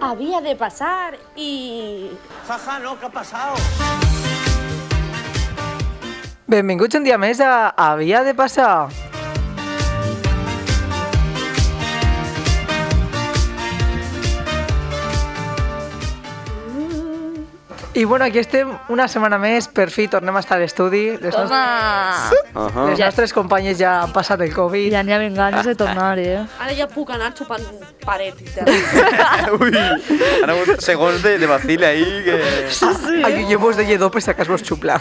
había de pasar y... Jaja, no, ¿qué ha pasado? Benvinguts un dia més a Havia de passar. I bueno, aquí estem una setmana més, per fi tornem a estar a l'estudi. Les, nos Toma! Ahà. les nostres companyes ja han passat el Covid. Ja n'hi havien ganes de tornar, eh? Ara ja puc anar xupant paret i terra. Ui, han hagut segons de, de vacil ahí que... Sí. Ai, jo vos deia doble si acas vos xupla.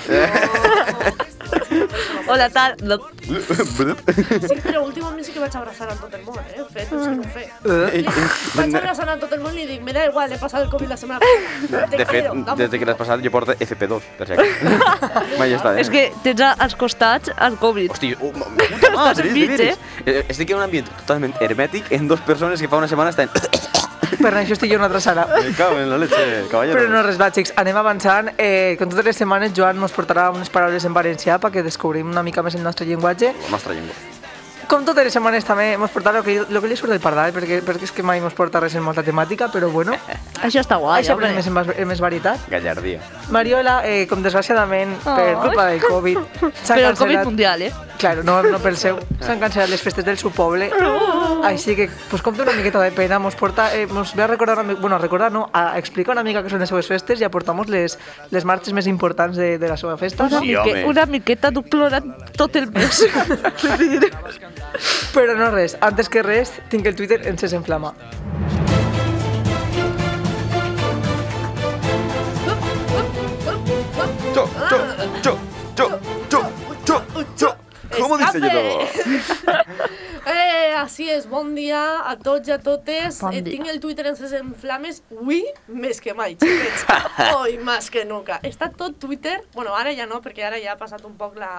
Hola, tal. No. Sí, però últimament sí que vaig abraçant a tot el món, eh? Fet, no sé com fer. Ei, eh, Vaig abraçant a tot el món i dic, me da igual, he passat el Covid la setmana passada. Te De fet, quiero, vamos. des de que l'has passat jo porto FP2, per si acaso. Mai està, eh? És que tens a- als costats el Covid. Hosti, oh, ma- puta Estàs madre, enmig, de veres. Eh, Estic en un ambient totalment hermètic en dos persones que fa una setmana estan... Per això estic jo una altra sala. Me cago en la leche, caballero. Però no res, va, xics, anem avançant. Eh, com totes les setmanes, Joan ens portarà unes paraules en valencià perquè descobrim una mica més el nostre llenguatge. La nostra llengua. Com totes les setmanes també ens portarà el que, lo que li surt del pardal, perquè, perquè és que mai ens porta res en molta temàtica, però bueno, Això està guai, això home. aprenem més, en vas- en més varietat. Gallardia. Mariola, eh, com desgraciadament, per Ai. culpa del Covid, s'han Però el Covid cancel·lat- mundial, eh? Claro, no, no pel seu. S'han cancel·lat les festes del seu poble. Oh. Així que, pues, com té una miqueta de pena, mos, porta, eh, mos ve a recordar, una mi- bueno, a recordar, no, a explicar una mica què són les seues festes i aportamos les, les marxes més importants de, de la seva festa. Una, No? Sí, home. mique, una miqueta t'ho plorant tot el mes. Però no res, antes que res, tinc el Twitter ens es enflama. Cho, cho, cho, cho, cho, cho, cho. ¿Cómo dice yo? Eh, así es, bon dia a tots i a totes. Bon eh, dia. tinc el Twitter en ses en flames, avui més que mai, xiquets. Hoy més que nunca. Està tot Twitter, bueno, ara ja no, perquè ara ja ha passat un poc la,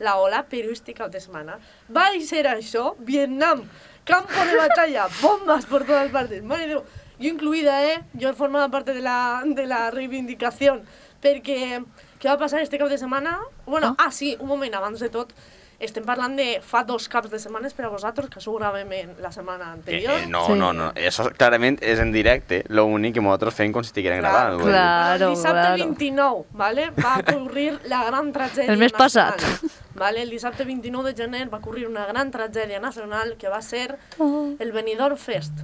la ola, però este cap de setmana va ser això, Vietnam, campo de batalla, bombes per totes partes, mare de Déu. Jo incluïda, eh? Jo formava part de la, de la reivindicació, perquè què va passar este cap de setmana? Bueno, ah, sí, un moment, abans de tot, estem parlant de fa dos caps de setmanes per a vosaltres, que s'ho gravem en la setmana anterior. Eh, eh, no, Sí. no, no. Eso clarament és en directe. Lo únic que nosaltres fem com si estigueren Clar, gravant. vull dir. clar. el Claro, dissabte claro. 29, ¿vale? Va ocurrir la gran tragedia El mes nacional, passat. ¿Vale? El dissabte 29 de gener va ocurrir una gran tragedia nacional que va ser Oh. el Benidorm Fest.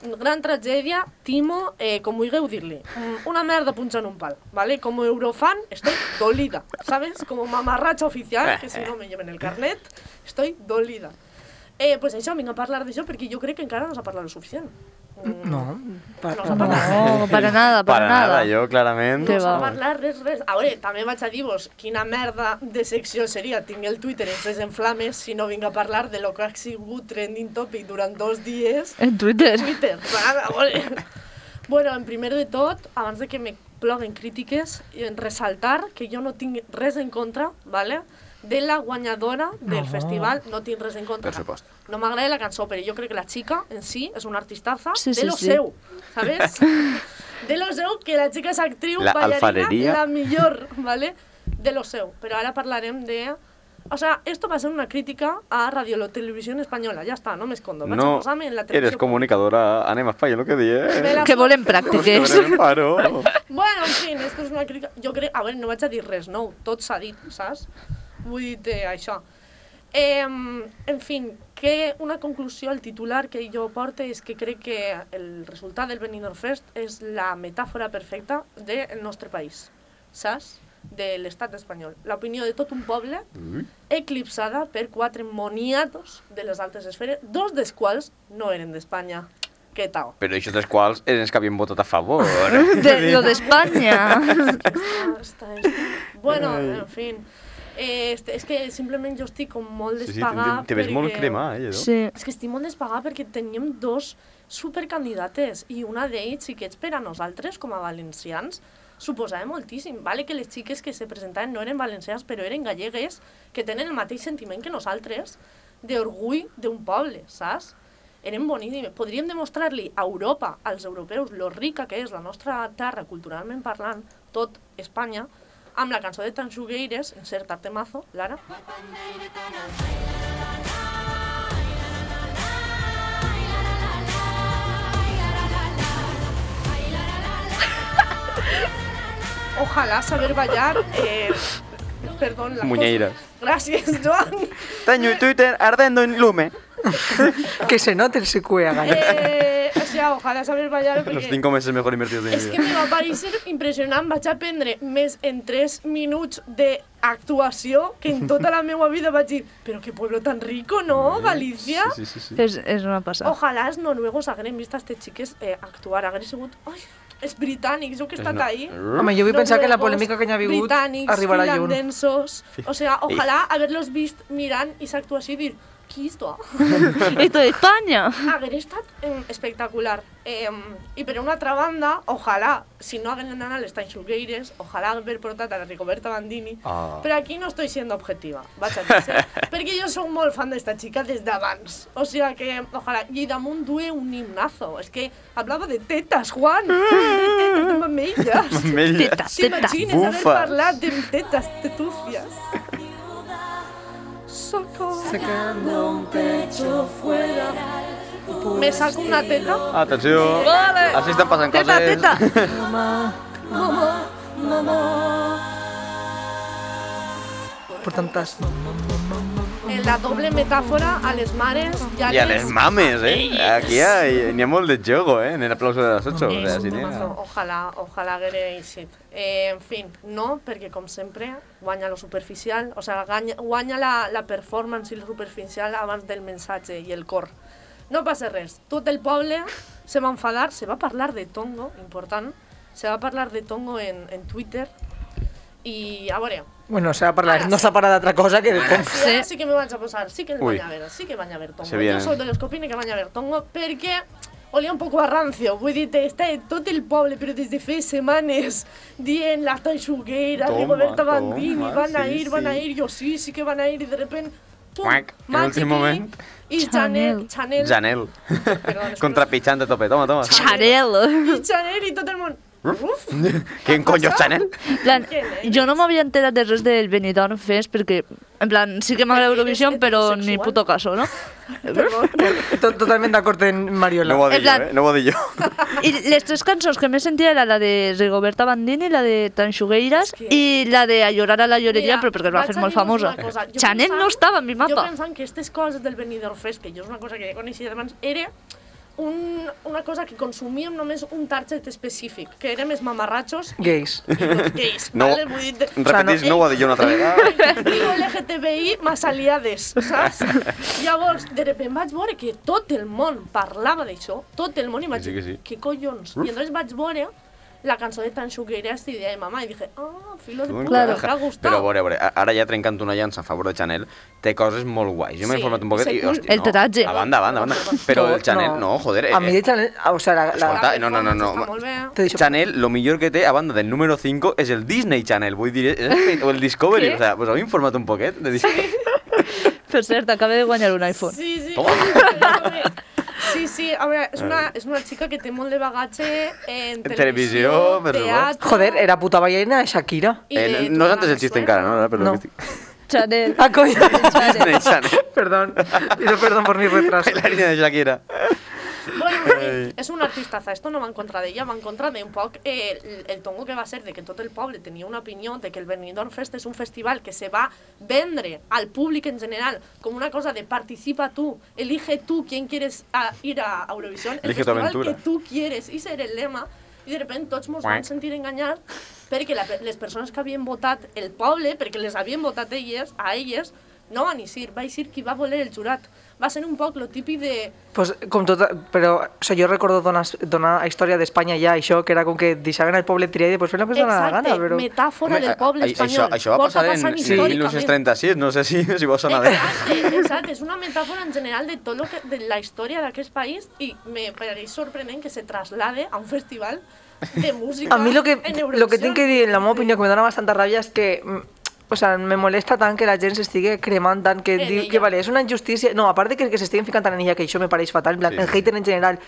Gran tragedia, Timo, eh, com vulgueu dir-li, mm, una merda punxant un pal, ¿vale? Com eurofan, estoy dolida, ¿sabes? Com mamarratxa oficial, que si no me lleven el carnet, estoy dolida. Eh, pues això, vinc a parlar d'això perquè jo crec que encara no s'ha parlat el suficient. Mm, No, pa, No s'ha no. parlat. No, para nada, para, Para nada, jo, clarament. Què No s'ha va. parlat res, res. A veure, també vaig a dir-vos quina merda de secció seria tinc el Twitter encès en flames si no vinc a parlar de lo que ha sigut trending topic durant dos dies En Twitter. Twitter. A veure. bueno, en primer de tot, abans de que me ploguen crítiques, eh, resaltar que jo no tinc res en contra, ¿vale? de la guanyadora del No. festival, no tinc res en contra. Per supost. No m'agrada la cançó, però jo crec que la xica en si és una artistaza Sí, de sí, lo sí. seu, ¿sabes? de lo seu, que la xica és actriu, La ballarina, alfarería. la millor, ¿vale? de lo seu. Però ara parlarem de... O sea, esto va a ser una crítica a Radio Televisión Española. Ya está, no me escondo. Vaig a No, posar-me en la eres televisió comunicadora, anem a Espanya, lo que Me dius. la- Que volem pràctiques. Paro. Bueno, en fin, esto és una crítica... Jo crec... A veure, no vaig a dir res nou, tot s'ha dit, saps? Vull dir eh, això. Eh, en fin, que una conclusió al titular que jo porte és que crec que el resultat del Benidorm Fest és la metàfora perfecta del nostre país, saps? De l'estat espanyol. L'opinió de tot un poble eclipsada per quatre moniatos de les altes esferes, dos dels quals no eren d'Espanya. Què tal? Però això dels quals eren els que havien votat a favor. De, lo d'Espanya. Hasta esto. Ah, Bueno, en fin. Eh, este, és que simplement jo estic com molt Sí, sí, despagada. te ves molt cremar, eh, no? Sí. És que estic molt despagada perquè teníem dos supercandidates i una d'ells, sí que ets per a nosaltres, com a valencians, suposava moltíssim. Vale que les xiques que se presentaven no eren valencians, però eren gallegues, que tenen el mateix sentiment que nosaltres, d'orgull d'un poble, saps? Eren boníssimes. Podríem demostrar-li a Europa, als europeus, lo rica que és la nostra terra, culturalment parlant, tot Espanya, amb la cançó de Tanxugueires, en cert temazo, Lara, ojalá saber bailar. eh, perdón, la cosa. Muñeiras. Gracias, Joan. Teño Twitter ardendo en lume. Que se note el secue, gana. Eh, o sea, ojalá saber bailar. Los Porque cinco meses mejor invertidos de mi és que vida. me va parecer impressionant. Vaig aprendre més en 3 minuts d'actuació que en tota la meva vida vaig dir però que pueblo tan rico, no, Galícia? Sí, sí, sí. sí. Es, es una pasada. Ojalà els noruegos hagueren vist a aquestes xiques eh, actuar, hagueren sigut... Ai, els britànics, jo que he estat ahí. Home, jo vull pensar que la Noruegos, polèmica que hi ha hagut britànics, arribarà lluny. finlandensos... O sea, ojalà haver-los vist mirant i actuació i dir qui és tu? Esto de España. haguera estat eh, espectacular. Eh, I per una altra banda, ojalà, si no hagueren anat les Tanxugueires, ojalà haver portat a la Ricoberta Bandini, Ah. però aquí no estic sent objetiva, vaig a dir perquè jo sóc molt fan d'esta xica des d'abans. O sigui que, ojalà, i damunt due un himnazo. És que hablava de tetas, Juan, de tetas, de mamelles. Mella. Tetas, tetas. S'imagines haver Bufes. parlat de tetas, tetúfies. Socorro. Me saco una teta. Atenció. Així estan passant Teta, coses. teta. Per tantes... En la doble metàfora a les mares ja I a les mames, eh? Aquí hi- n'hi ha molt de jogo, eh? En el aplauso de las 8. O sea, si n'hi No, ha... ojalà, ojalà haguera eixit. Eh, en fin, no, perquè com sempre guanya lo superficial, o sea, guanya, guanya la, la performance i lo superficial abans del missatge i el cor. No passa res, tot el poble se va enfadar, se va parlar de Tongo, important, se va parlar de Tongo en, en Twitter i a veure, Bueno, s'ha parlat, no s'ha parlat d'altra cosa que de com... Sí, ara sí que me vaig a posar, sí que el Ui. vaig a ver, sí que vaig a ver Se tongo. viene. Jo soy de los que opinen que vaig a ver tongo perquè olia un poco a rancio. Vull dir, està tot el poble, però des de fa setmanes dient la Tanxuguera, Toma, Rigoberta toma, Bandini, van a sí, ir, van a sí. ir, jo sí, sí que van a ir, i de repente, pum, Cuac, en Magic últim moment. I Chanel, Chanel, Janel. Perdón, es que Contrapitxant de tope. Toma, toma. Charelo. i Chanel i tot el món. Uf, ¿Quién coño es Chanel? En plan, jo no m'havia enterat de res del Benidorm Fest perquè, en plan, sí que m'agrada Eurovisió, però ni puto caso, no? To- Totalment d'acord en Mariola. No ho En dic jo, plan- eh? No ho dic jo. I les tres cançons que més sentia era la de Rigoberta Bandini, la de Tanxugueiras És que- i la de A llorar a la lloreria, però perquè es va vaig fer a molt dir-vos famosa. una cosa. Jo Chanel pensant- no estava en mi Jo mapa. pensant que aquestes coses del Benidorm Fest, que jo és una cosa que ja coneixia abans, era un, una cosa que consumíem només un target específic, que érem els mamarratxos i Gays. els gays. No. Vale? Vull dir, Repetís, no ho ha dit jo una Ah, altra vegada. Digo LGTBI más aliades, saps? Llavors, de repente vaig veure que tot el món parlava d'això, tot el món, i vaig sí, dir, que sí. què collons? I entonces vaig veure la cançó de Tan Xugueras i de mamà, i dije, ah, filo de puta, Claro. que ha gustado. Però a veure, a veure, a- ara ja trencant una llança a favor de Chanel, té coses molt guais. Jo m'he Sí, informat un poquet i, ser cool. hòstia, El tatuatge. no, a banda, a banda, a banda. Però el Chanel, no, joder, eh, A mi de eh, Chanel... ah, O sea, la... la... escolta, Pues no, no, no, Està no. molt bé. Te he dicho... Chanel, lo millor que té, a banda del número 5, és el Disney Channel, vull dir, és- o el Discovery, o sea, pues heu informat un poquet de Disney. Per cert, acaba Pues de guanyar un iPhone. Sí, sí. Toma. Sí, sí, a veure, és Ah. una, és una xica que té molt de bagatge en televisió, Televisió, per supuesto. teatre... Joder, era puta ballena Shakira. i de Eh, no tornar és antes a el xiste Sueca. encara, no? Ara, Però No. que estic- Chanel. Ah, coño. Disney Channel. perdón. Pido perdón por mi retraso. La línea de Shakira. Bueno, en fi, Ai. és una artistaza, esto no va en contra d'ella, va en contra d'un poc eh, el, el tongo que va ser de que tot el poble tenia una opinió de que el Benidorm Fest és un festival que se va vendre al públic en general com una cosa de participa tu, elige tu quién quieres a, ir a Eurovisión, el Elige tu festival aventura. que tu quieres, i ser el lema, i de repente tots mos van sentir enganyats perquè la, pe- les persones que havien votat el poble, perquè les havien votat elles, a elles, no van eixir, va eixir qui va voler el jurat. Va ser un poc lo típic de Pues, com tot, però o sigui, jo recordo d'una d'una història d'Espanya ja, això, que era com que deixaven el poble triar i després fer la persona la Exacte, gana, però... metàfora Home, del poble a- a- espanyol. Això, això va Porta passar en passant sí, històricament. 1936, no sé si, si vos sona bé. Exacte, Eh, exacte, és una metàfora en general de tot lo que, de la història d'aquest país i me pareix sorprenent que se traslade a un festival de música A mí lo que, en lo que tengo que Eurovisión. decir, en la meva opinió, que me dona bastante rabia es que mm, O sea, me molesta tant que la gent s'estigui cremant tant que En diu ella. que vale, és una injustícia. No, a part de que, que s'estiguin ficant tant en ella, que això me pareix fatal, en plan, Sí, el sí. hater en general,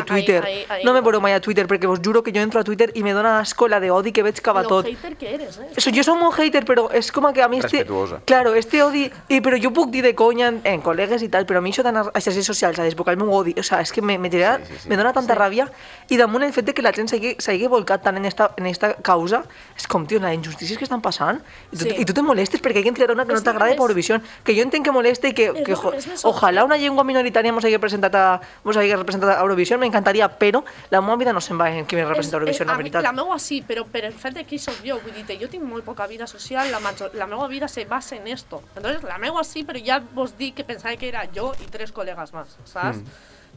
No, ahí- Twitter. ahí- ahí no me no. veureu mai a Twitter, perquè vos juro que jo entro a Twitter i me dona asco la de odi que veig cap a Lo tot. hater que eres, eh? Eso, yo soy un hater, pero es como que a mí este... Respetuosa. Claro, este odi... Y, pero yo puc dir de coña en, en col·legues i tal, però a mi això d'anar a xarxes socials a desbocar-me un odi, o sea, és que me, me, genera, Sí, sí, sí. me dona tanta sí. ràbia i damunt el fet de que la gent s'hagi s'hagi volcat tant en esta, en esta causa, és com, tio, les injustícies que estan passant, i tu, Sí. sí. i tu te molestes perquè hi ha entrat una que És no t'agrada més- per Eurovisió, que jo entenc que moleste i que, És que jo, més- és més ojalà una llengua minoritària mos hagi presentat a, mos hagi representat a Eurovisió, m'encantaria, però la meva vida no se'n va en qui me representa a És- és- Eurovisió, la mi- veritat. La meua sí, però per el fet de qui sóc jo, vull dir jo tinc molt poca vida social, la, major, la meua vida se basa en esto. Entonces, la meua sí, però ja vos dic que pensava que era jo i tres col·legues més, saps? Mm.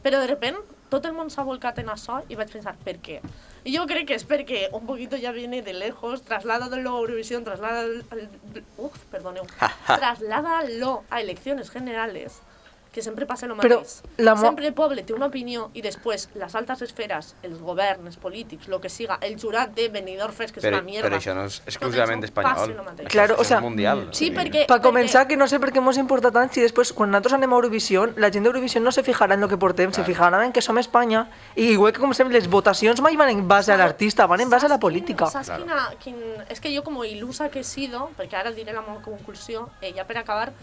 Però de repent tot el món s'ha volcat en això i vaig pensar, per què? I jo crec que és perquè un poquito ja viene de lejos, trasládalo a Eurovisión, trasládalo... al- Uf, perdoneu. trasládalo a elecciones generales, que sempre passa lo Però mateix. la mo- Sempre el poble té una opinió i després les altes esferes, els governs, els polítics, lo que siga, el jurat de Benidorm Fest, que és Pero, una mierda. pero eso no es exclusivamente Tot això passa español. lo mateix. Eso Claro, es- o eso sea, es mundial. sí, o sea, porque- Per començar, que no sé per què mos importa tant si després, quan nosaltres anem a Eurovisió, la gent d'Eurovisió no se fijarà en el que portem, se fijarà en que som Espanya, i igual que, com sempre, les votacions mai van en base a l'artista, van en base a la Saps política. Quin, saps quina, quin... És que jo, com il·lusa que he sido, perquè ara diré la meva conclusió, eh, ja per acabar,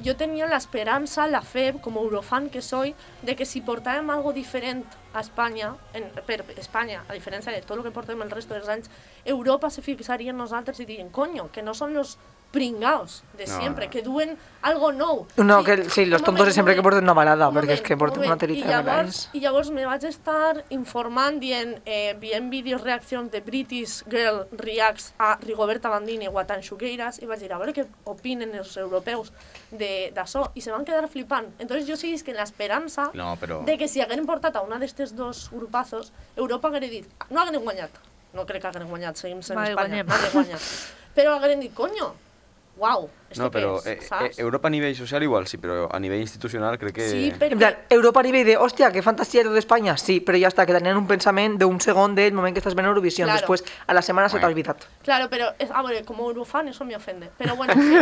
jo tenia l'esperança, la fe, com a eurofan que soy, de que si portàvem algo diferent a Espanya, en, per Espanya, a diferència de tot el que portem el resto dels anys, Europa se fixaria en nosaltres i dirien, coño, que no són los pringaos de No, sempre, no. que duen algo nou. No, I- que sí, los un tontos de moment, sempre un que porten una balada, un perquè és moment, que porten un una moment. telita I de llavors, balades. I llavors me vaig estar informant dient, eh, veient vídeos reaccions de British Girl Reacts a Rigoberta Bandini o a Tan Xugueiras i vaig dir, a veure què opinen els europeus de- d'això, i se van quedar flipant. Entonces jo sí que en l'esperança No, però- de que si hagueren portat a una d'aquestes dos grupazos, Europa haguera dit, "Ah, no hagueren guanyat, no crec que hagueren guanyat, seguim sent Vale, Espanya, guanyem. no hagueren guanyat, però hagueren dit, coño, uau, esto No, però què eh, és, eh, saps? Europa a nivell social igual sí, però a nivell institucional crec que... Sí, En perquè... plan, Europa a nivell de, hòstia, que fantasia lo d'Espanya, sí, però ja està, que tenien un pensament d'un segon del moment que estàs veient Eurovisió, Claro. després a la setmana se t'ha Bueno. olvidat. Claro, pero es, a ver, como eurofan eso me ofende. Pero bueno, sí,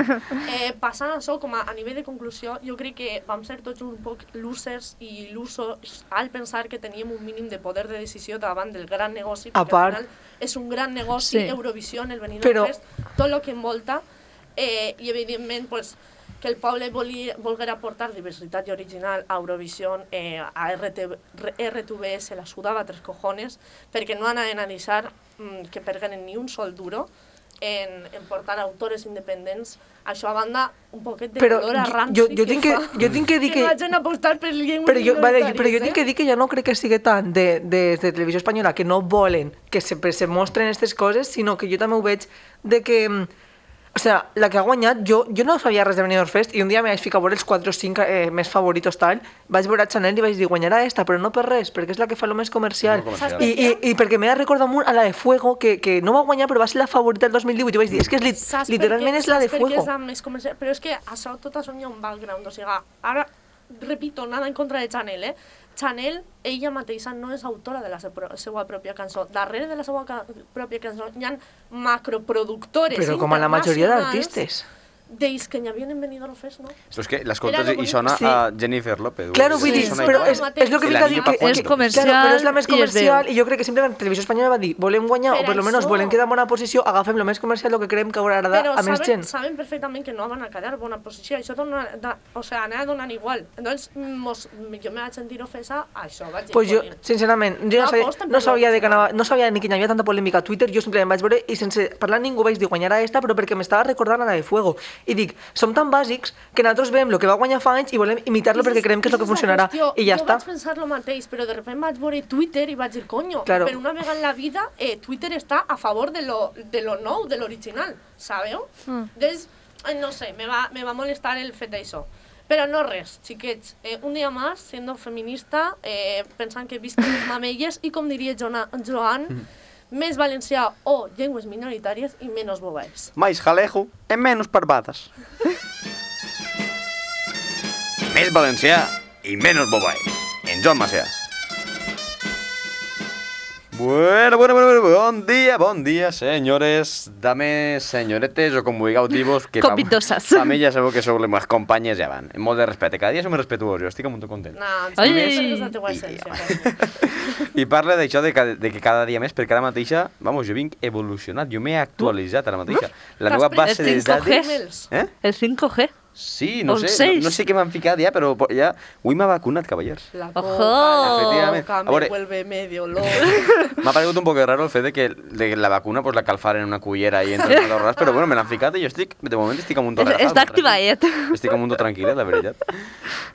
eh, passant a això, com a, a nivell de conclusió, jo crec que vam ser tots un poc losers i losers al pensar que teníem un mínim de poder de decisió davant del gran negoci, A perquè part- al final és un gran negoci, Sí. sí. Eurovisió, el Benidorm Però- Fest, tot el que envolta, eh, i evidentment, pues, que el poble volia, volguera aportar diversitat i original a Eurovisió, eh, a RTV, RTV se la sudava tres cojones, perquè no anaven a analitzar mm, que perguen ni un sol duro en, en portar autores independents. Això a banda, un poquet de Però color a jo- ranci jo- jo tinc que- fa jo tinc que dir que no que- hagin apostat per llengües Però jo, vale, però jo minoritàries, tinc que dir que ja no crec que sigui tant de, de, de televisió espanyola que no volen que se, se mostren aquestes coses, sinó que jo també ho veig de que... mm, O sigui, la que ha guanyat, jo, jo no sabia res de Benidorm Fest i un dia me vaig ficar a veure els 4 o 5 eh, més favoritos tal, vaig veure a Chanel i vaig dir guanyarà esta, però no per res, perquè és la que fa el més comercial. Molt comercial. I, i, I perquè m'he recordat molt a la de Fuego, que, que no va guanyar però va ser la favorita del 2018, jo vaig dir, és que és, Saps lit- per literalment què- és la de saps per què Fuego. és la més comercial? Però és que això, tot això hi ha un background, o sigui, ara, repito, nada en contra de Chanel, eh? Chanel, ella mateixa no és autora de la se- pro- seva pròpia cançó. Darrere de la seva ca pròpia cançó hi ha macroproductores Però com a la majoria internacionals d'artistes. D'ells que n'hi havien en Benidorm Fest, no? Però és que Era l'escoltes lo i sona bonic. a Jennifer López. Claro, vull Sí, dir, sí, però sí. és, és el que I vinc la a dir llepa que, que, És comercial claro, però és la més i es comercial veu. i jo crec que sempre la televisió espanyola va dir volem guanyar Per o per almenys això. volem quedar en bona posició, agafem el més comercial, el que creiem que haurà d'agradar a més saben, gent. saben perfectament que no van a quedar bona posició, això dona, da, o sea, anava donant igual. Entonces, mos, jo me vaig sentir ofesa a això, vaig dir, Pues jo, "Jolín". sincerament, jo no, No sabia, aposten no per sabia, de que l'original. anava, no sabia ni que hi havia tanta polèmica a Twitter, jo simplement vaig veure i sense parlar amb ningú vaig dir guanyarà esta, però perquè m'estava recordant a la de Fuego. I dic, som tan bàsics que nosaltres veiem el que va guanyar fa anys i volem imitar-lo perquè creiem que és el que Esa la funcionarà. qüestió. I ja jo està. vaig pensar el mateix, però de repente vaig veure Twitter i vaig dir, coño, Claro. per una vegada en la vida eh, Twitter està a favor de lo, de lo nou, de l'original, sabeu? Hmm. Mm. Des, eh, no sé, me va, me va molestar el fet d'això. Però no res, xiquets. Eh, un dia més, sent feminista, eh, pensant que visc les mamelles i, com diria Jona, Joan, Hmm. més valencià o llengües minoritàries i menys bobaes. Mais jalejo e menos parvadas. Més valencià i menys bobai. En Joan Macià. Bueno, bueno, bueno, bueno, bon dia, bon dia, senyores, dames, senyoretes o com vulgueu dir-vos. que Copitoses. Pa, pa mi ja sabeu que sou les meves companyes ja van. Molt de respecte, cada dia som més respectuós, jo estic molt content. No, em Ai, sembla que ai, és la teua I- essència. I parla d'això de, ca- de que cada dia més, perquè ara mateixa, vamos, jo vinc evolucionat, jo m'he actualitzat ara mateixa. La meva base de Estic dades... coges. Eh? El 5G. Sí, no O sé, seis. no, no sé què m'han ficat ja, però po- ja... Avui m'ha vacunat, cavallers. La Ojo. coca, la Efectivamente. coca A me veure. vuelve medio loco. M'ha paregut un poc raro el fet de que de que la vacuna pues, la calfaren en una cullera i entre les rars, però bueno, me l'han ficat i jo estic, de moment estic amb un to Es- relaxat, està molt tranquil. activaet. Estic amb un to tranquil, eh, la veritat.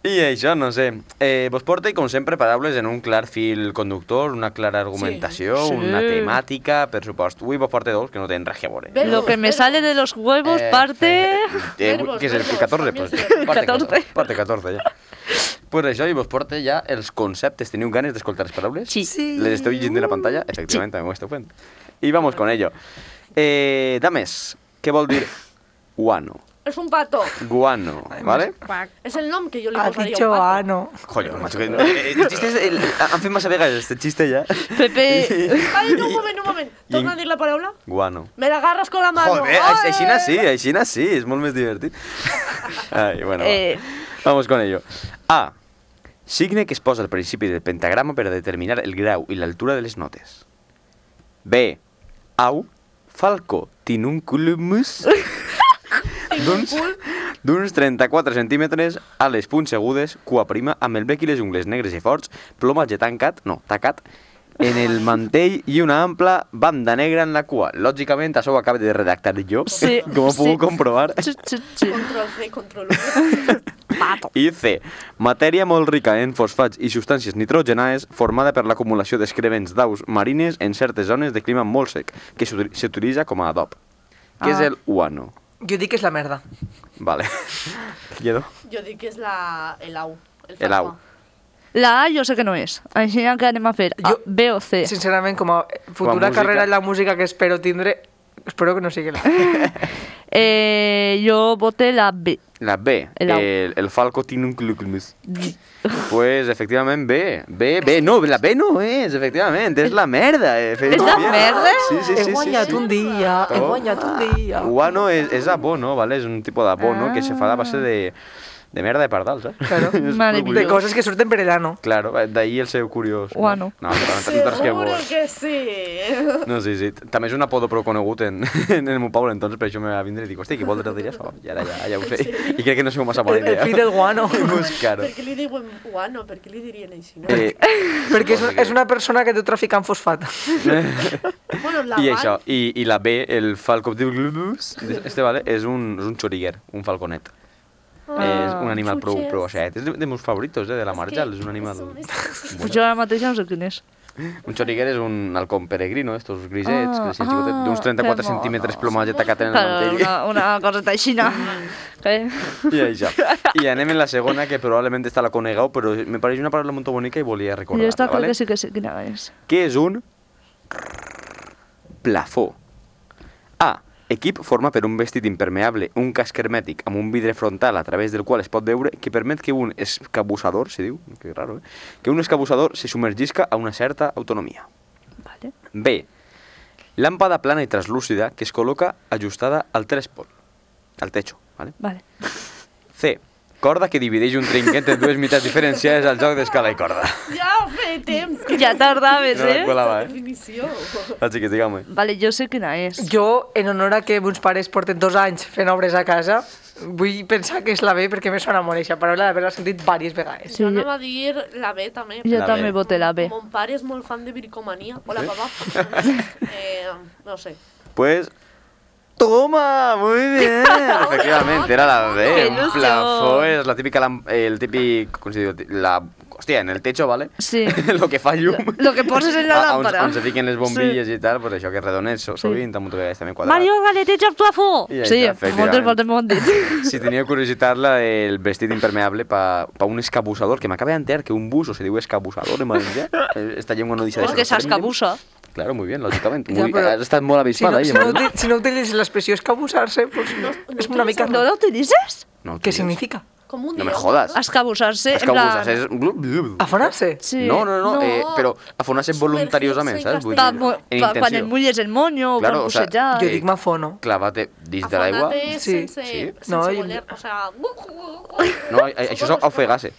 I això, no sé, eh, vos porta, com sempre, paraules en un clar fil conductor, una clara argumentació, Sí. una Sí. temàtica, per supost. Avui vos porta dos que no tenen res a veure. Ve- Lo que me Verbos. sale de los huevos Eh, parte... Eh, Verbos, que és el verbos, 14, canvies pues. de- Parte 14. 14. Parte 14, ja. Pues això, i vos porta ja els conceptes. Teniu ganes d'escoltar les paraules? Sí. Sí. Les estoy yendo en la pantalla, efectivamente, me muestra cuenta. Y vamos con ello. Eh, dames, ¿qué vol dir guano? Es un pato. Guano, ¿vale? Es el nombre que yo le Ha pondría a un Ah, dicho pato. ano. Joder, macho, que... eh, El chiste es... El, han fet massa vegades este chiste ya. Pepe... Ay, no, un momento, un momento. ¿Torna a decir la palabra? Guano. Me la agarras con la mano. Joder, Ay. aixina sí, eh. aixina sí, és molt més divertit. Ai, bueno, Eh. va. Vamos con ello. A. Signe que es posa al principi del pentagrama per a determinar el grau i l'altura de les notes. B. Au, falco, tinunculumus, d'uns d'uns 34 centímetres, a les punts segudes, cua prima, amb el bec i les ungles negres i forts, plomatge tancat, no, tacat, en el mantell i una ampla banda negra en la cua. Lògicament, això ho acabo de redactar jo, Sí, com ho sí. puc comprovar. Sí, sí, sí. Control C, control V. I C. Matèria molt rica en fosfats i substàncies nitrogenades formada per l'acumulació d'excrements d'aus marines en certes zones de clima molt sec, que s'util- s'utilitza com a adob. Que és Ah. el guano. Yo di que es la merda. Vale. Lledo. Yo digo que es la, el au. El, El au. fantasma. La A jo sé que no és. Així que anem a fer A, Jo- B o C. Sinceramente, como eh, futura música. carrera en la música que espero tindré, espero que no siga la... Eh, jo voté la B. La B. El El, au. el, el falco tinunculuclumus. Pues efectivamente B. B, B. No, la B no es, efectivamente. Es la merda. eh, ¿Es la merda? Sí, sí, sí. he sí, guanyat sí. un dia, he Oh. guanyat un dia. Guano és, és abono, ¿vale? És un tipus d'abono que se fa a base de, de merda de pardals, eh? Claro. És Mare molt mía. De curiós. coses que surten per el ano. Claro, eh, d'ahir el seu curiós. Guano. No, no, no, no, que Seguro vos. que sí. No, sí, sí. També és un apodo prou conegut en, en el meu poble, entonces per això me va vindre i dic, hòstia, qui vol dir això? I ara ja, ja ho sé. I crec que no sou massa bona El idea. fill del guano. Buscar-ho. Per què li diuen guano? Per què li dirien així? No? Eh, Perquè és, és una persona que té trafic amb fosfat. bueno, la I van- això, i, i la B, el falco de globus, este vale, és un, és un xoriguer, un falconet. Ah, és un animal prou, xutxes. prou aixet. És de, de meus favoritos, eh, de És la que Marjal, és un animal... és un- és Pues jo ara mateix ja no sé quin és. Un xoriguer és un halcón peregrino, estos grisets, Ah, ah, ah, ah, d'uns que 34 monos. centímetres plomatge tacat en el Claro, mantell. una, una coseta aixina. Eh? I això. I anem en la segona, que probablement està la conegueu, però me pareix una paraula molt bonica i volia Jo recordar-la, esta crec vale? que sí que sé quina és. Què és un plafó? A. Equip forma per un vestit impermeable, un casc hermètic amb un vidre frontal a través del qual es pot veure que permet que un escabussador, se diu, que raro, eh? que un escabussador se submergisca a una certa autonomia. Vale. B. Làmpada plana i translúcida que es col·loca ajustada al trespol, al techo, ¿vale? Vale. C. Corda que divideix un trinquet en dues meitats diferenciades al joc d'escala i corda. Ja ho feia temps. Que Ja tardaves, No la eh? colava, eh? definició. Així que digueu-me. Vale, jo sé quina és. Jo, en honor a que uns pares porten dos anys fent obres a casa, vull pensar que és la B perquè me sona molt eixa paraula d'haver-la sentit diverses vegades. Sí, jo anava a dir la B també. Jo La també B. voté la B. Mon pare és molt fan de Vircomania. Hola, papà. eh, no sé. Pues... ¡Toma! Muy bien. Efectivamente, era la Qué B. Un ilusión. plafó es la típica... lam- El típico... ¿Cómo se dice? La... Hostia, en el techo, ¿vale? Sí. Lo que fa llum. Lo que poses en la Ah, on- lámpara. On, se fiquen les bombilles i tal, pues això que és redonet, so, sovint, amb un vegades també quadrat. Mario, galeteja el plafó! I Sí, moltes això, efectivament. voltes m'ho han dit. Si teníeu curiositat, la, el vestit impermeable pa, pa un escabussador, que m'acaba d'enterar que un buso se diu escabussador en valencià. Eh, Esta llengua no deixa de És ser que sorprendent. s'escabussa. Claro, muy bien, lògicament. Ja, Muy, però has estat molt Si no, avispada. si ahí, no, Manuel. uti- si no utilitzes l'expressió escabusar-se, pues, doncs és una mica... No l'utilitzes? No, Què tio. significa? Com un No me dios. jodas. Escabussar-se, És en que plan... abusar, és... Afonar-se. Sí. No, no, no, eh, però afonar-se Sumergir-se voluntariosament, en saps? Vull Pa, dir, mo- en pa, quan et intenció. mulles el monyo Claro, o quan o sea, bussejar. Jo Eh, dic m'afono. Clava-te dins de l'aigua. Afonar-te Sí. sense, Sí. sense No, i- voler, o sea... uh, No, a- a- això és pues, ofegar-se.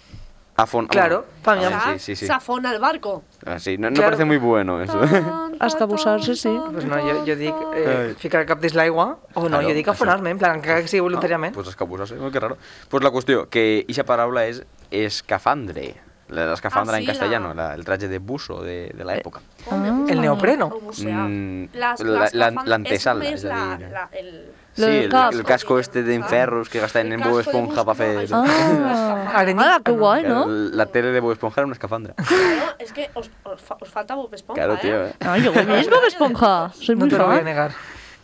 Afon... Claro, pa, mi Ah, amor. Sí, sí, sí. Se afona pues, el barco. Ah, sí. No, no Claro. parece muy bueno eso. Escabussar-se, sí. Pues no, jo, jo dic eh, ficar el cap dins l'aigua, o no, Claro, jo dic això. afonar-me, en plan, encara que sigui Ah, voluntàriament. pues escapusar-se, no, que raro. Pues la qüestió, que ixa paraula és escafandre. La de escafandre Ah, sí, en la- castellano, la... el traje de buzo de, de l'època. Ah. El neopreno. O bucear. Mm, pues, Las- la- las la- gafas- l'antesala, es és a la- dir. la- el- Sí, el, casco. el casco este d'enferros que gasten El en casco Bob de Esponja buzo, per fer... no, Ah, Arenita. ah, que guai, no? La tele de Bob Esponja era una escafandra. Claro, es que os, os fa- os falta Bob Esponja, Claro, ¿eh? tío, eh? No, jo he vist Bob Esponja. Soy No muy te lo voy a fan. negar.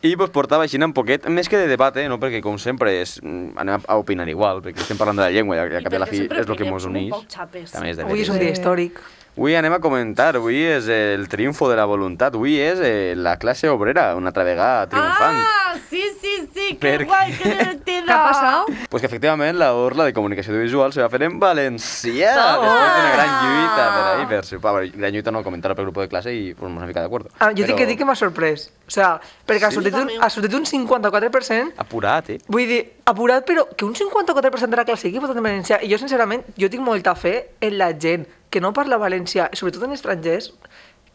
I vos portava així un poquet, més que de debat, eh, no? perquè com sempre és, mm, anem a opinar igual, perquè estem parlant de la llengua i al I cap i a la perquè fi sempre és el que opinem mos un uneix. poc xapes. També és de Avui és un veres. dia històric. Avui anem a comentar, avui és el triomfo de la voluntat, avui és eh, la classe obrera, una altra vegada triomfant. Ah, sí, sí, sí, qué Per- guay, qué divertido. Què ha passat? Ah, Pues que efectivament la orla de comunicació audiovisual se va fer en valencià, després d'una gran lluita per ahí, per sopar, bueno, gran lluita no, comentar pel grup de classe i pues, mos hem ficat d'acord. Ah, jo Però... dic que dic que m'ha sorprès. O sea, perquè ha, Sí? sortit un, També. ha sortit un 54%, Apurat, eh? vull dir, apurat, però que un 54% de la classe sigui votant en valencià. I jo, sincerament, jo tinc molta fe en la gent que no parla valencià, sobretot en estrangers,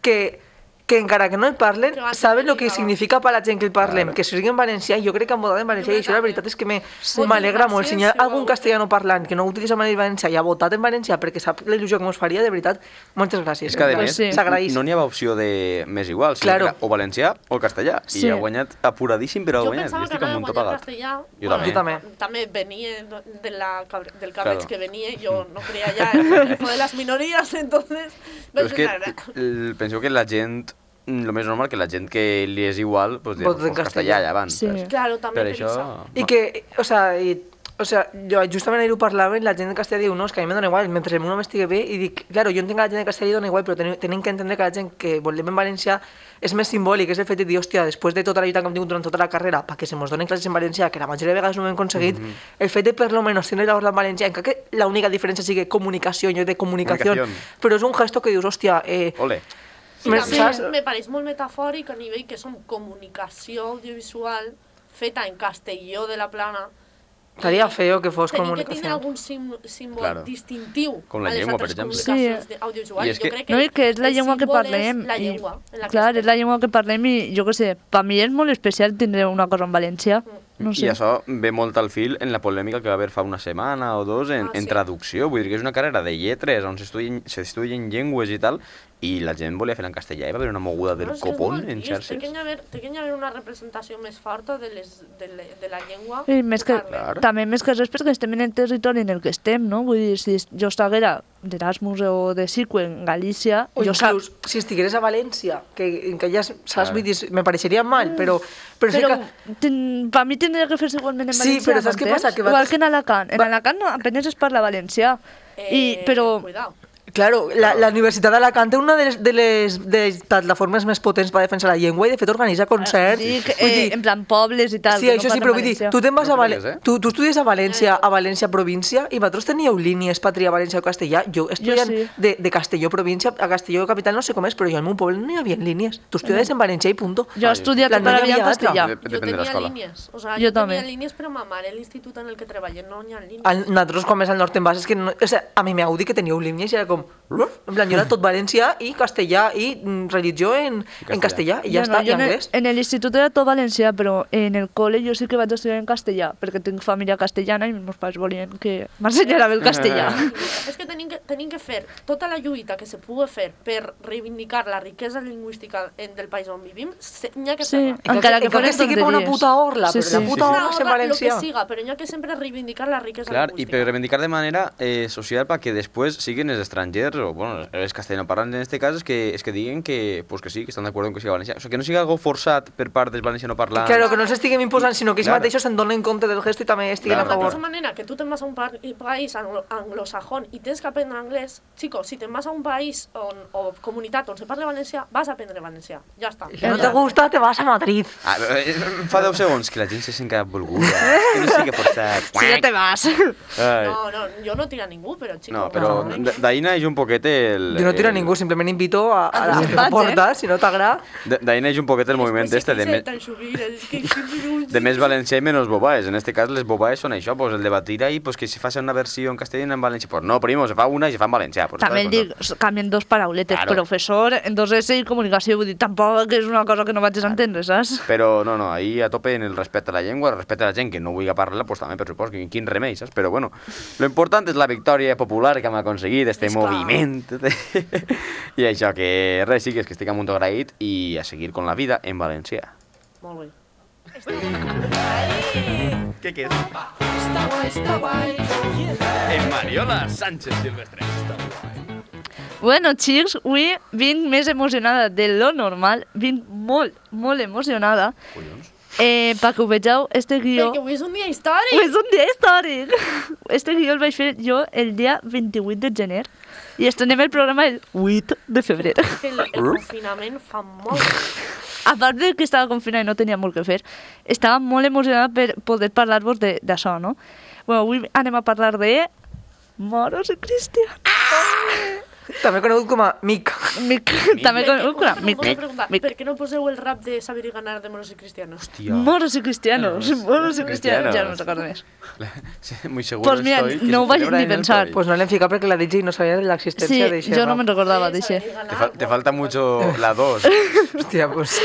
que, que encara que no el parlen, Que va ser saben el que complicada. significa per la gent que el parlem, que sigui en valencià, jo crec que han votat en valencià, i això la també. veritat és que me- Sí. m'alegra molt. Si hi ha Valencià, algun segur. castellano parlant que no utilitza mai el valencià i ha votat en valencià perquè sap la il·lusió que mos faria, de veritat, moltes gràcies. És que, a En plan, més, sí. s'agraeix. no n'hi havia opció de més igual, sinó Claro. que era o valencià o castellà. Sí. I ha guanyat apuradíssim, però ha Yo guanyat. pensaba que estic anava amb un guanyant top agat. castellà. Jo Bueno, també. Jo també. També venia de la, cab- del cabreig Claro. Mm. que venía, yo no creía ya en lo de las minorías, entonces... Però és que la verdad. el- penseu que la gent, mm, lo més normal, que la gent que li és igual, doncs, Vota pues, en castellà castellà. allà abans. Sí. saps? Claro, también Per això... I que, o sea, i, o sea, jo justament ahir ho parlava i la gent de Castellà diu, no, és que a mi em dona igual, mentre el meu home estigui bé, i dic, claro, jo entenc que a la gent de Castellà li dona igual, però tenim, tenim que entendre que la gent que volem en valencià és més simbòlic, és el fet de dir, hòstia, després de tota la lluita que hem tingut durant tota la carrera, perquè se mos donen classes en valencià, que la majoria de vegades no ho hem aconseguit, Mhm. el fet de per lo menos tenir la orla en valencià, encara que l'única diferència sigui comunicació en lloc de comunicació, Comunicación. però és un gesto que dius, hòstia, eh, Ole. Sí, me- també saps? me pareix molt metafòric a nivell que som comunicació audiovisual feta en castelló de la plana. estaria feo que fos Tenir que tindre comunicació. algun sim, símbol Claro. claro. distintiu Com la a les llengua, per altres exemple. comunicacions Sí. de- audiovisuals. I és que- Jo crec que No, i que és la el llengua que símbol parlem. És la i- llengua. en la que Clar, estem. és la llengua que parlem i jo què sé, per mi és molt especial tindre una cosa en valencià. Mm. No I sé. això ve molt al fil en la polèmica que va haver fa una setmana o dos en, Ah, en sí. traducció. Vull dir que és una carrera de lletres on s'estudien s'estudien llengües i tal, i la gent volia fer en castellà i va haver una moguda del No, és que és copón molt en trist. Té que xarxes. hi haver, té que hi haver una representació més forta de, les, de, le, de la llengua. I més que, Clar. també més que res perquè estem en el territori en el que estem, no? Vull dir, si jo estiguera d'Erasmus o de Sico en Galícia, O jo inclús, si estigués a València, que, que ja saps, vull dir, me pareixeria mal, però, però, Mm. Però sé que... ten, per mi tindria que fer-se igualment en Sí, valencià. però saps què m'entens? passa? Que va- Igual que en Alacant. En va- Alacant no, apenas es parla valencià. I, però... Eh, Cuidao. Claro, la, la Universitat d'Alacant té una de les, de les, de les plataformes més potents per defensar la llengua i de fet organitza concerts. Dic, Vull eh, en plan pobles i tal. sí, que això sí, parlen però vull dir, valencià. tu te'n vas No a València, cregues, eh? tu, tu estudies a València, a València província, i vosaltres teníeu línies per triar València o Castellà. Jo estudiant sí. de, de Castelló província, a Castelló capital no sé com és, però jo al meu poble no hi havia línies. Tu estudies en València i punto. Jo he estudiat La tota la meva vida en hi ha altra. castellà. Dep- jo Depèn de tenia l'escola. línies. O sea, Jo jo, també. tenia línies, però ma mare, l'institut en el que treballo, no n'hi ha línies. Al, nosaltres, com és al nord en bases, que no, o sea, a mi m'heu dit que teníeu línies i era com... "Ruf", En plan, jo era tot valencià i castellà i mm, religió en, en castellà i ja Jo està, i jo eh, en el- anglès. En l'institut era tot valencià, però en el col·le jo sí que vaig estudiar en castellà, perquè tinc família castellana i els meus pares volien que m'ensenyara bé el castellà. Eh. És que tenim, que tenim que fer tota la lluita que se pugui fer per reivindicar la riquesa lingüística en, del país on vivim, se- n'hi ha que Sí, fer-la. encara que, encara foren que sigui per una tonteries. puta orla, sí, però sí. la puta Una orla és en hora, lo que valencià. siga, però n'hi ha que sempre reivindicar la riquesa Clar, i lingüística. per reivindicar de manera eh, social perquè després siguin els estrangers estrangers o, bueno, els castellanoparlants en este cas és que, és que diguen que, pues que sí, que estan d'acord en que siga valencià. O sigui, que no siga algo forçat per part dels valencianoparlants. Claro, que no els estiguem imposant, sinó que ells Claro. mateixos se'n donen compte del gesto i també estiguen Claro. a De la favor. misma manera que tú te vas a un par- eh, país anglo- anglosajón y tienes que aprender inglés, chicos, si te vas a un país on- o comunitat on se parla valencià, vas a aprendre valencià. Ja està. Si no te gusta, te vas a Madrid. Ah, eh, eh, fa 10 segons que la gent se sent que volguda, que no sigui forçat. Si ya te vas. Ai. No, no, yo no tira ningú, pero chicos... No, però no. d- Daina és un poquet el... Yo no tiro a el- ningú, simplement invito a, a la Escolta, que porta, si no t'agrada. D- Daina és un poquet el moviment Després este de, me, s'injecten sovint, és que- que- de més valencià i menys bobaes. En este cas, les bobaes són això, pues, el de batira i pues, que se faci una versió en castellà i en valencià. Pues no, primo, se fa una i se fa en valencià. Pues, También clar, dic, pues, cambien dos parauletes, Claro. profesor, entonces sí, comunicació, vull dir, tampoc és una cosa que no vaig entendre, saps? no. Però no, no, ahir a tope en el respecte a la llengua, el respecte a la gent que no vulgui parlar, pues també, per supos, quin, quin remei, saps? Però bueno, lo important és la victòria popular que hem aconseguit, este És clar. moviment. I això, que res, sí que és que estic amunt agraït i a seguir con la vida en valencià. Molt bé. ¿Qué qué es? En Eh, Mariola Sánchez Silvestre. Bueno, xics, avui vinc més emocionada de lo normal, vinc molt, molt emocionada. Eh, pa que ho vegeu, este guió... Perquè avui és un dia històric! Pues- És un dia històric! Este guió el vaig fer jo el dia 28 de gener i estrenem el programa el 8 de febrer. El, el confinament fa molt... A part de que estava confinada i no tenia molt que fer, estava molt emocionada per poder parlar-vos de- d'això, no? Bueno, avui anem a parlar de... Moros i Cristian. Ah! També conegut com a Mic. Mic, també conegut com a Una Mic. cosa que em volia preguntar, Mic. Per què no poseu el rap de saber i ganar de moros i cristianos? Moros y cristianos, moros y cristianos, ya no cristianos. me recuerdo més. Muy seguro Pues mira, estoy que no se ho vaig celebra ni en el pensar. Toy. Pues no l'hem ficat perquè la DJ no sabia de Sí, l'existència d'això. jo no me'n recordava d'això. Saber i ganar, te, fal- te bueno, falta mucho la 2. Hòstia, pues...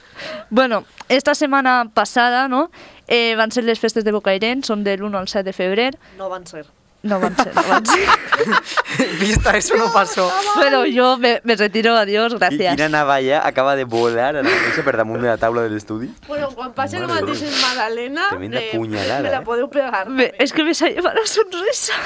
Bueno, esta setmana passada, no?, eh, van ser les festes de Bocairent, són de l'1 al 7 de febrer. No van ser. No van ser, no van ser. Vista, eso no pasó. Però jo me, me retiro, adiós, gràcies. Quina navalla acaba de volar a la mesa per damunt de la taula de l'estudi. Bueno, quan passi el Mare de mateix Déu. en Madalena, Tremenda eh, punyalada, me la eh? podeu pegar. Me, és que me s'ha llevat la sonrisa.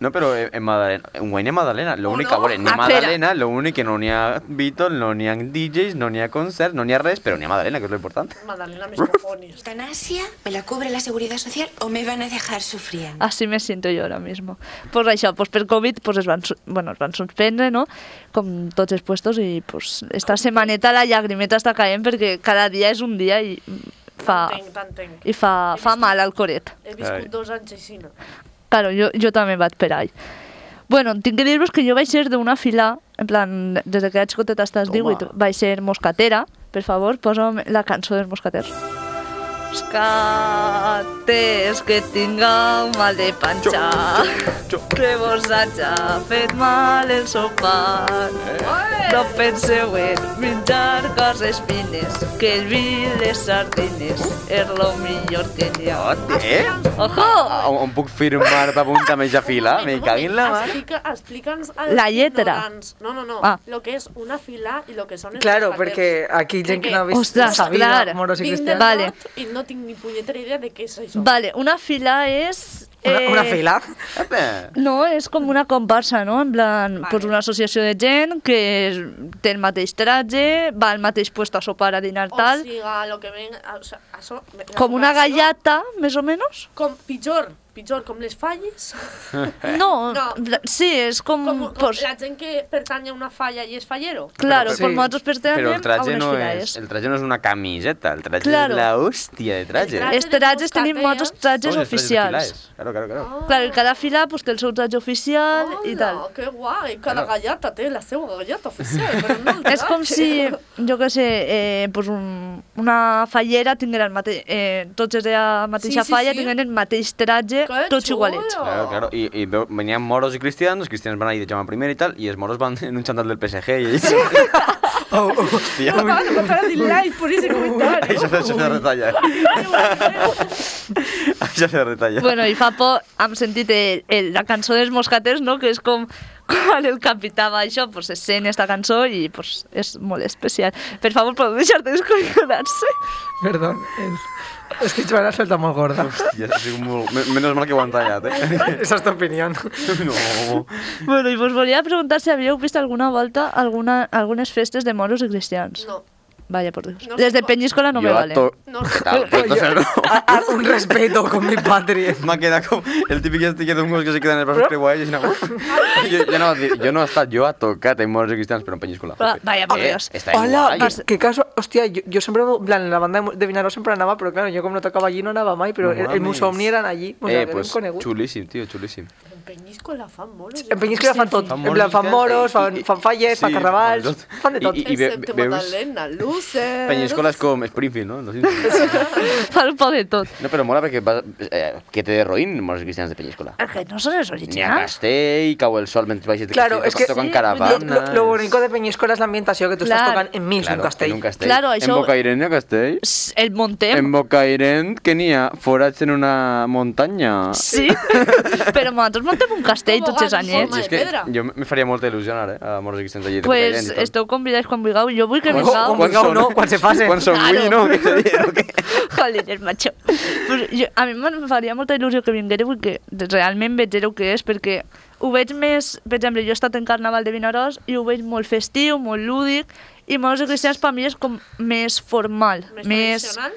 No, pero eh, en Madalena, en Guainia Madalena, lo Oh, único, no. bueno, ni Ah, Madalena, lo único que no ni a Beatles, no ni a DJs, no ni a concerts, no ni a res, pero ni a Madalena, que es lo importante. Madalena, mis cojones. ¿Eutanasia? ¿Me la cubre la seguridad social o me van a dejar sufriendo? Així me siento jo ara mismo. Pues això, pues per Covid pues es, van, su- bueno, es van suspendre, no?, com tots els puestos, i pues esta setmaneta la llagrimeta està caent perquè cada dia és un dia i fa, T'entenc, t'entenc. i fa, fa mal al coret. He viscut Ai. dos anys així. no? Claro, jo, jo també vaig per all. Bueno, tinc que dir-vos que jo vaig ser d'una fila, en plan, des que era xicoteta hasta els Toma. 18, vaig ser moscatera. Per favor, posa'm la cançó dels moscaters. Moscates, que tinga un mal de panxa, que vos haja fet mal el sopar. No penseu en menjar coses fines, que el vi i les sardines és lo millor que hi ha. Eh? Ojo! Ah, on puc firmar per apuntar més a fila? Me cago en la mar. Explica, explica'ns... La lletra. No, no, no. Ah. Lo que és una fila i lo que són els Claro, mosqueters. perquè aquí gent que no ha vist Ostres, la vida, clar. moros i Vinc del cristians. Vale. nord i no tinc ni punyetera idea de què és això. Vale, una fila és... eh, Una, una fila. Apa. No, és com una comparsa, no? En plan, vale. pues una associació de gent que es- té el mateix traje, va al mateix puesto a sopar, a dinar, O tal... siga, lo que ven... O sea, això, Oh, la Com una comparació- gallata, més o menys? Com, pitjor, pitjor, com les falles. No, No. sí, és com... Com, com pues, la gent que pertany a una falla i és fallero. Claro, Però- com Sí. nosaltres pertanyem Però el a traje unes no filaes. és, el traje no és una camiseta, el traje Claro. és la hòstia de traje. El traje Els trajes tenim molts trajes Oye, el traje de oficials. filaes. Claro, claro, claro. Clar, i cada fila pues, té el seu traje oficial i tal. Que guai, cada gallata té la seva gallata oficial, però no el És com traje. si, jo què sé, eh, pues un, una fallera tinguera el mateix... Eh, tots els de la mateixa Sí, sí, falla sí. tingueren el mateix traje, Que tots xulo. igualets. Claro, claro. I, i veu- venien moros i cristians, els cristians van ahir de Jaume I i tal, i els moros van en un xantal del PSG i ells... Oh, oh. Hòstia, No van a matar el like por ese comentario. això, això se retalla. això se retalla. Bueno, i fa por, hem sentit el, el, la cançó dels moscaters, no?, que és com quan el capità va això, pues es sent esta cançó i pues, és molt especial. Per favor, podeu deixar de descollonarse? Perdón. el- És que Joan ha soltat molt gorda. Ja ha sigut molt... me- Menys mal que ho han tallat, eh? Esa és tu opinió. No. Bueno, i vos volia preguntar si havíeu vist alguna volta alguna, algunes festes de moros i cristians. No, Vaya, por Dios. No sé Desde cua- Peñíscola no me Jo vale. to- no. Tal, però tot això Ah, no. A- a- Un respeto con mi patria. M'ha quedat com el típic este que d'un gos que se queda en els braços creuats i així anava. jo, jo, no, jo no he estat, jo he tocat en morts i cristians, però en penyíscola. Ah, Però, vaya por Eh, Dios. Està Hola, guai. qué caso, hostia, yo, yo siempre, en plan, en la banda de Vinaró siempre andaba, pero claro, yo como no tocaba allí no andaba más, pero No el, el mames. Musomni eran allí. O sea, Eh, que pues con el- Eh, xulíssim, tio, xulíssim. En Peñíscola fan moros. En Peñíscola fan tot, en moros plan, fan cristians, moros, i- fan, i- fan falles, sí, fan carnavals, fan de tot. fan de tot. I- i- I, ve- Excepte veus- Magdalena, Luces... Penyíscola és com Springfield, no? Lo siento. Fa un poc de tot. No, però mola perquè vas, eh, que te derroïn morts i cristians de penyíscola. Es que no són els N'hi ha originals. castell, cau el sol mentre baixes de Claro, castell, és que toquen sí, caravanes... Lo, lo- lo bonito de Peñíscola es la ambientación que tú estás Claro. tocando en mí, es un Claro, castell. En un castell. Claro, això- En Bocairent hi ha castell? S- El Montem. En Bocairent, què n'hi ha? Forats en una muntanya. Sí, però nosaltres montem un castell tots els Tobogán, anyets. forma és de que pedra. jo me faria molta il·lusió anar eh, a Morts i Cristians allí. de Pues Bocairent i tot. esteu convidats quan vulgueu. Jo vull que Quan- vingueu. quan- vulgueu, no? Quan se facen. Quan som Claro. avui, no? Que se diu, o què? Joder, el macho. Pues jo, a mi em faria molta il·lusió que vinguéreu i que realment vegéreu què és, perquè ho veig més... Per exemple, jo he estat en Carnaval de Vinaròs i ho veig molt festiu, molt lúdic, i Moros i Cristians per mi és com més formal. Més tradicional?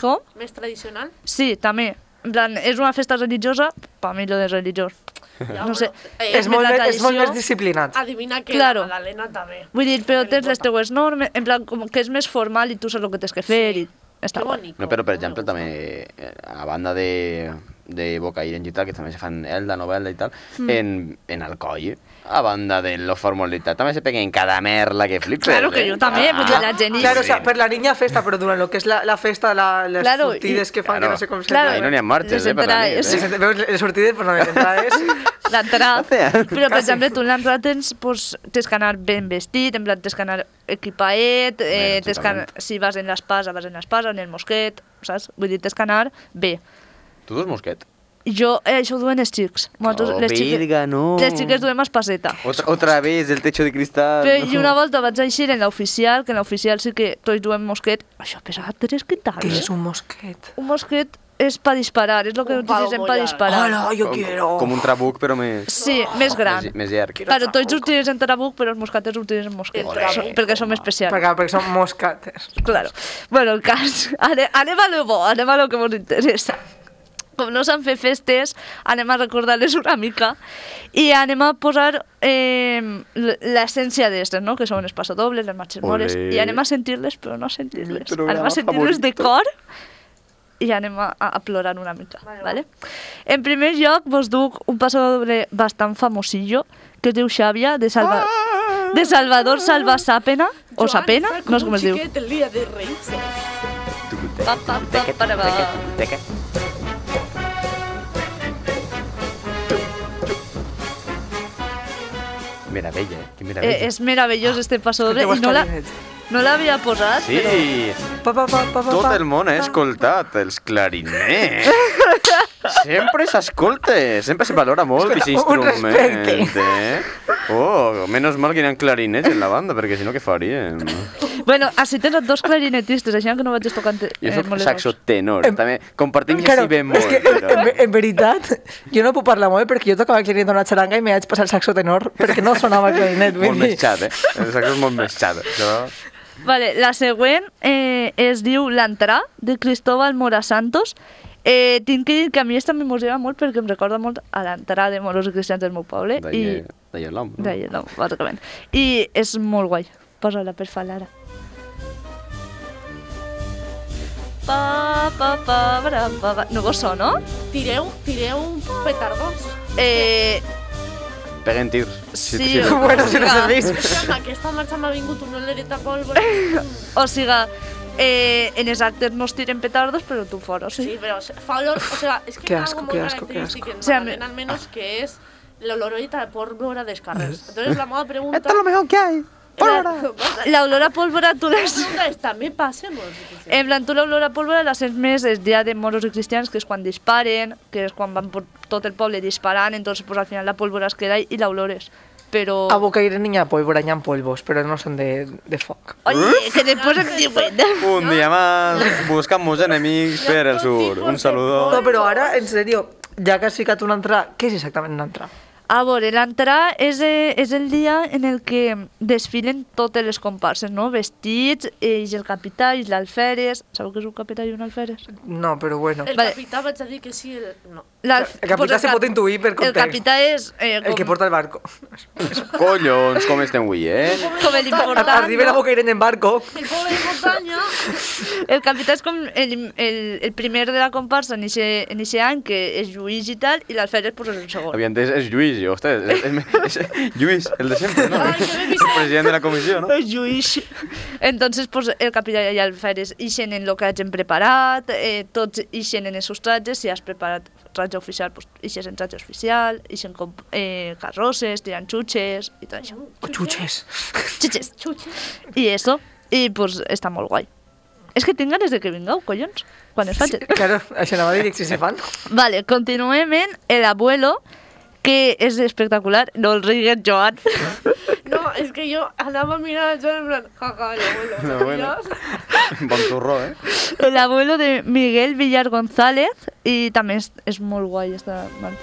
Com? Més tradicional? Sí, també. En plan, és una festa religiosa, per mi lo de religiós. Ja, No sé. Eh, Es muy, la es muy tradició. más disciplinat. Adivina que Claro. la Magdalena també. Vull dir, però tens les Importa. teues normes, en plan, com que és més formal i tu saps el que tens que fer i està Que guai. bonic. No, però Me per exemple gusta. també eh, a banda de, de Bocairent i tal, que també se fan Elda, Novelda i tal, Hmm. en, en Alcoi, a banda de la formalitat, també se peguen cada merla que flipes. ¿eh? Ah. Claro que jo també, pues la gent i- Claro, o vull dir, sea, per la niña festa, pero durante lo que es la, la festa, la, las Claro, sortides y- que fan, que Claro. no sé cómo se Claro. Ahí no n'hi ha marxes, Les eh, per la nit, entrades. eh? llama. Veus les sortides, però no les entrades. l'entrada. Gracias. Però, per exemple, tu en l'entrada tens, pues, tens que anar ben vestit, en plan, tens que anar equipaet, eh, Bueno, tens que, totalment. si vas en l'espasa, vas en l'espasa, en el mosquet, saps? Vull dir, tens que anar bé. Tu dos mosquet? Jo, eh, això ho duen els xics. Moltes, Oh, les, xiques, virga, no. les xiques duen espaseta. Otra, otra vez el techo de cristal. Però, I una volta vaig eixir en l'oficial, que en l'oficial sí que tots duen mosquet. Això pesava 3 ¿Qué quintals. es un mosquet? Un mosquet és per disparar, és el que Un utilitzem per palomollar. disparar. ¡Hala, yo Com- quiero! Com un trabuc, Oh, però més... Sí, més gran. Més, més llarg. Claro, tots utilitzen trabuc, però els mosqueters utilitzen mosquet, El trabuc, perquè som especials. Perquè, perquè són moscates. Claro. Bueno, el cas... Ane, anem a lo bo, anem a lo que ens interessa. Com no s'han fet festes, anem a recordar-les una mica i anem a posar eh, l- l'essència d'estes, no? que són les passadobles, les marxes mores, Olé. i anem a sentir-les però no sentir-les. Mi programa Anem a sentir-les de cor favorito. i anem a, a, a plorar una mica. Vale, Vale, va. En primer lloc, vos duc un passadoble bastant famosillo que es diu Xàbia, de, Salva... de Salvador Salva Sàpena, o Joan Sàpena, fa com no sé com un es diu. xiquet el dia de Reis. Pa, pa, pa, para, pa. Meravella, eh? Que meravella. Eh, és meravellós este passadoble Que te i no la- gusta bien. no l'havia posat, Sí, però... Pa, pa, pa, pa, pa, tot pa. el món ha escoltat els clarinets. Sempre s'escolta, sempre se valora molt aquest Escolta, un instrument. respecte. Eh? Oh, menos mal que hi ha clarinets en la banda, perquè si no, què faríem? Bueno, així tens els dos clarinetistes, així que no vaig estar tocant... Jo eh, soc molt de saxo gos. tenor, també. Compartim Claro, si bemol. és que, en, però- ve- en veritat, jo no puc parlar molt bé perquè jo tocava el clarinet a una xaranga i me vaig passar el saxo tenor perquè no sonava el clarinet. Molt vull més dir. xat, eh? El saxo és molt més xat. No? Vale, la següent eh, es diu L'entrà, de Cristóbal Mora Santos. Eh, tinc que dir que a mi esta m'emociona molt perquè em recorda molt a l'entrà de molts cristians del meu poble. D'ahir i... d'ahir l'home. no? D'ahir, no, bàsicament. I és molt guai. Posa-la per falar ara. Pa, pa, pa, pa, pa, pa. No vos sona? Tireu, tireu petardons. Eh, Peguen tirs. Sí, sí, o- sí. Bueno, si no Ja. serveix. Escolta'm, aquesta marxa m'ha vingut una olereta pólvora. o siga, eh, en els actes no es tiren petardos, però tu fora, sí. Sí, pero o sea, fa olor, o sea, es que Qué hay asco, algo muy qué asco, qué característico en asco. O sea, Magdalena, me- al menos que es la olorita de pólvora de escarres. Entonces la moda pregunta... Esto es lo mejor que hay. la, La olor a pólvora, tu la les... pregunta es, ¿también pasemos? En plan, tu l'olor a pólvora la sents més el dia de moros i cristians, que és quan disparen, que és quan van per tot el poble disparant, entonces pues, al final la pólvora es queda ahí i l'olores. pero... A boca ir niña polvo, arañan polvos, pero no son de, de foc. Oye, que te posen Un dia més, buscant-nos enemics per el sur. Un No, saludó. però ara, en serio, ja que has ficat un entrà, què és exactament un entrà? A veure, l'entrà és, eh, és el dia en el que desfilen totes les comparses, no? Vestits, ells el capità, ells l'alferes... Sabeu què és un capità i un alferes? No, però bueno. El Vale. capità vaig a dir que sí, el... no. L'alf- El capità el se cap- pot intuir per El context. capità és... Eh, com, El que porta el barco. Collons, com estem avui, eh? Com l'important... Arriba la no? boca en barco. El pobre montaña... El capità és com el, el, el primer de la comparsa en eixe- en eixe any, que és Lluís i tal, i l'alferes pues, és el segon. Havia entès, és Lluís, jo, ostres, és, és, és Lluís, el de sempre, no? Ai, que m'he vist. El president de la comissió, no? Lluís. Entonces, pues, el capità i l'alferes ixen en el que hagin preparat, eh, tots ixen en els seus tratges, si has preparat tratge oficial, pues, ixes en tratge oficial, ixen com eh, carrosses, tirant xutxes i tot això. O chuches. Xutxes! Chuches. I eso, i pues, està molt guai. És que tinc ganes de que vingueu, collons, quan es faci. Claro, això anava a dir si se fan. Vale, continuem en El Abuelo, que és espectacular, no el rigues, Joan. No, es que yo andaba mirando yo en plan, jaja, el abuelo. El abuelo. Dios. Bon torró, eh? El abuelo de Miguel Villar González i també és, és molt guai esta... Vale,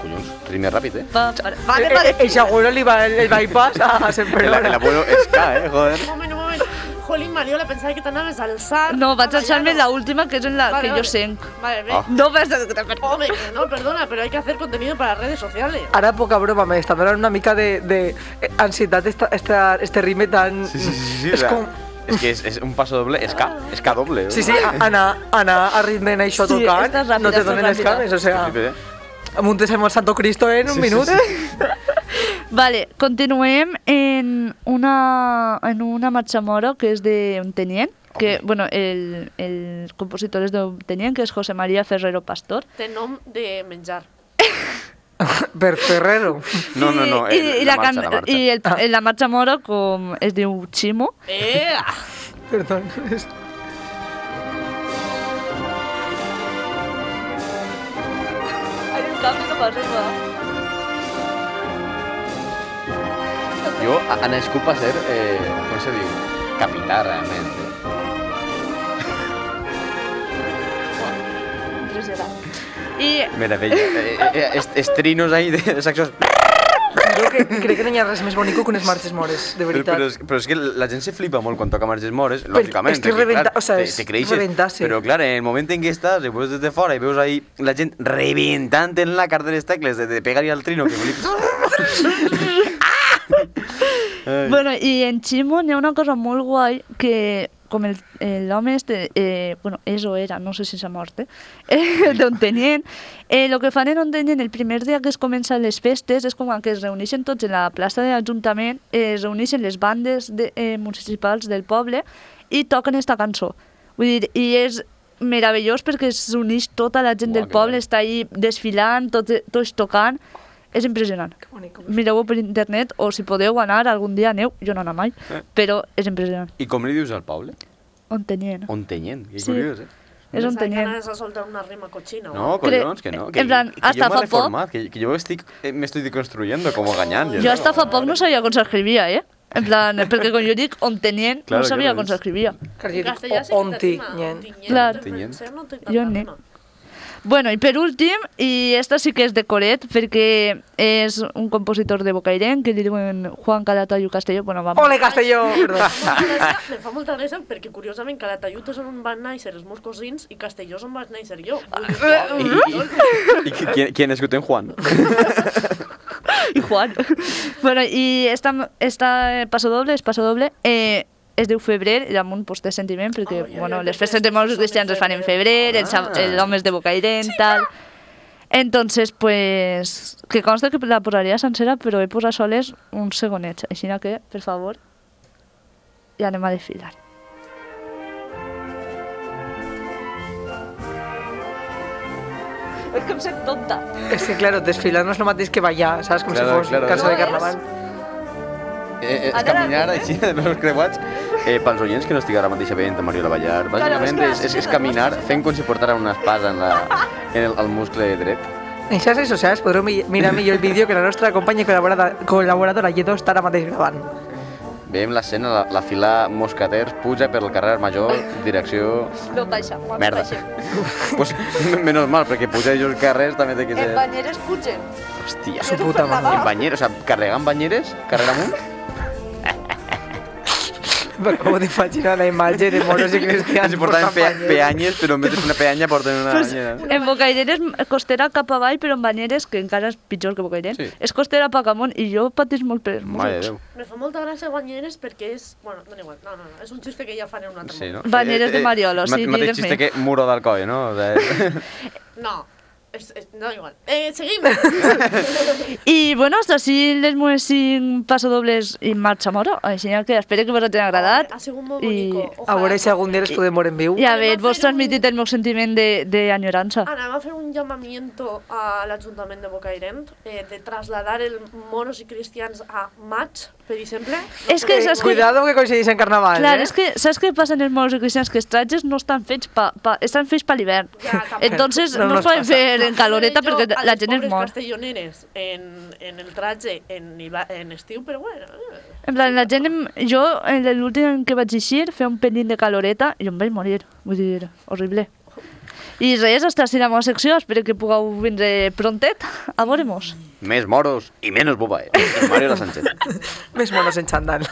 Collons, rime ràpid, eh? va, para- vale, Eh, eh, vale. Eixa abuelo li va el, el bypass a sempre. El, el abuelo és K, eh? Joder. Un momento, un momento. Jolín, Mariola, pensaba que te andabas a alzar. No, vaig a alçar-me Mariano. l'última, que és en la que jo Oh. senc. Vale, ve. Ah. No vas a... Vale, Hombre, que no, perdona, pero hay que hacer contenido para redes sociales. Ara poca broma, m'està donant una mica de, de eh, ansietat esta, esta, este ritme tan... Sí, sí, sí, sí. és o sea, com... És que és, és un passo doble, és K, és K doble. ¿eh? Sí, sí, a- anar, anar a ritme en això Sí, tocant, estàs ràpida, no te estàs donen les ràpida. cames, o sea, eh? muntes amb el Santo Cristo en un Sí, sí, minut. sí. vale continuem en una, en una marxa moro, que és d'un tenient, que, bueno, el, el compositor és d'un tenient, que és José María Ferrero Pastor. Te nom de menjar. Per Ferrero. No, no, no, I, eh, i, i, la, la marxa, can... la marxa. I el, ah. la marxa moro, com es diu Chimo, ¡Eh! Perdón. és- Hay un cambio no pasa Jo a- nascut per ser, eh, com se diu, capità, realment. eh? nada. Y Meravella. Eh, eh, eh, est- estrinos ahí de, de saxos. Jo que, crec que no hi ha res més bonico que unes marxes mores, de Però, veritat. però, és, però és que la gent se flipa molt quan toca marxes mores, Però lògicament. és que perquè, reventa- clar, o sea, te- és te creixes. reventar-se. Però clar, en el moment en què estàs, i veus des de fora i veus ahí la gent reventant en la cara de les tecles, de, de pegar-hi al trino, que "Ah!" flipes. bueno, y en Chimo hi ha una cosa molt guai que com el- eh, l'home este, eh, bueno, és o era, no sé si s'ha mort, eh? eh d'on tenien. Eh, el que fan en on tenien el primer dia que es comencen les festes és com que es reuneixen tots en la plaça de l'Ajuntament, eh, es reuneixen les bandes de, eh, municipals del poble i toquen esta cançó. Vull dir, i és meravellós perquè s'uneix tota la gent Uah, del que poble, guai. està ahí desfilant, tots, tots tocant, és impressionant. Mireu-ho per internet o si podeu anar algun dia aneu, jo no anar mai, però és impressionant. I com li dius al poble? On tenien. Ontenyent, que Sí. curiós, eh? És Pensaba on que tenien. ganas de soltar una rima cochina. No, Cre- collons, que no. en Que, plan, que hasta yo me fa he poc- reformat, que, que yo estic, eh, me estoy deconstruyendo como gañán. Jo hasta fa poc no sabia com s'escrivia, eh? En plan, perquè quan jo dic on tenien, Claro, no sabia claro, com és- s'escrivia. Clar, jo En dic, castellà sí que te o- onti, rima. nyen. ontiñen, Claro. pero en ser no te Jo tanta ne- rima. Bueno, i per últim, i esta sí que és de Coret, perquè és un compositor de Bocairen, que li diuen Juan Calatallo Castelló, bueno, va... Ole, Castelló! Perdó. Molta gràcia, me fa molta gràcia perquè curiosament Calatayud és on van néixer els meus cosins i Castelló és on vaig néixer jo. Vull dir, ¿Y, y- y qui- quién, quién escuchó en Juan? I Juan. bueno, i esta, esta eh, passo doble, és passo doble, eh, es diu febrer, i damunt pues, té sentiment, perquè Ai, ai, bueno, ai, les perquè festes de molts són en cristians es fan en febrer, el, sa- Ah. el home és de Bocairent, tal... Entonces, pues, que consta que la posaria sencera, però he posat soles un segonet, així que, per favor, i anem a desfilar. És que em sent tonta. És que, claro, desfilar no és el mateix que ballar, saps? Com Claro, si fos claro. claro. cançó No de és. carnaval. Eh, eh, Ara caminar la així, de peus creuats. Eh, pels oients que no estic ara mateix veient a Mariola Ballar, bàsicament Claro, és és, que és, la és seva caminar cosa- fent com si portara una espasa en, la, en el, el muscle dret. En xarxes socials podreu mi- mirar millor el vídeo que la nostra companya i col·laborada- col·laboradora Lledó està ara mateix gravant. Veiem l'escena, la, la fila Moscaters puja per la carrera major, direcció... No baixa, quan Merda. baixem. pues, m- menos mal, perquè pujar jo els carrers també té que ser... En banyeres pugem. Hòstia, Su puta en madre. banyeres, o sea, carregant banyeres, carrera amunt. M'acabo d'imaginar la imatge de moros i cristians Si portaven pe portant banyers. peanyes, però en vez de fer una peanya porten una banyera. En Bocairent és costera cap avall, però en Banyeres, que encara és pitjor que Bocairent, Sí. és costera a Pagamont i jo pateix molt per els Mare de músics. Déu. Me fa molta gràcia Banyeres perquè és... Bueno, dona igual, no, no, no, és un xiste que ja faré un altre Sí, no? Eh, Banyeres de Mariolo, ma- sí, Mateix diré fe. xiste este que muro d'Alcoi, no? O sea, moment. No, és, és, no igual. Eh, seguim! Gràcies, I, bueno, hasta així les meves cinc passadobles i marxa mora. Així que espero que vos hagin agradat. Ha sigut molt I- bonico. A veure si algun dia els podem veure en viu. I a Anem a veure, vos fer un- transmitit el meu sentiment de- d'enyorança. Anem a fer un llamamiento a l'Ajuntament de Bocairent eh, de trasladar el monos i cristians a maig, per exemple. No És que sé Eh, saps com- Cuidado que coincideix en carnaval, Clar, eh? és que saps què passa en els moros i cristians? Que els tratges no estan fets pa, pa, estan fets per l'hivern. Ja, també. Entonces No no, no nos es poden passa. fer en caloreta Jo, perquè a la les gent es pobres mor. castelloneres en, en el traje en, hiva- en estiu, però bueno... eh. En plan, la gent, em, jo, en l'últim que vaig eixir, feia un pelín de caloreta i em vaig morir. Vull dir, horrible. I res, hasta així la meva secció. Espero que pugueu vindre prontet. A veure-mos. més moros i menys bobaes. Eh? Mariola Sánchez. Més monos en xandall.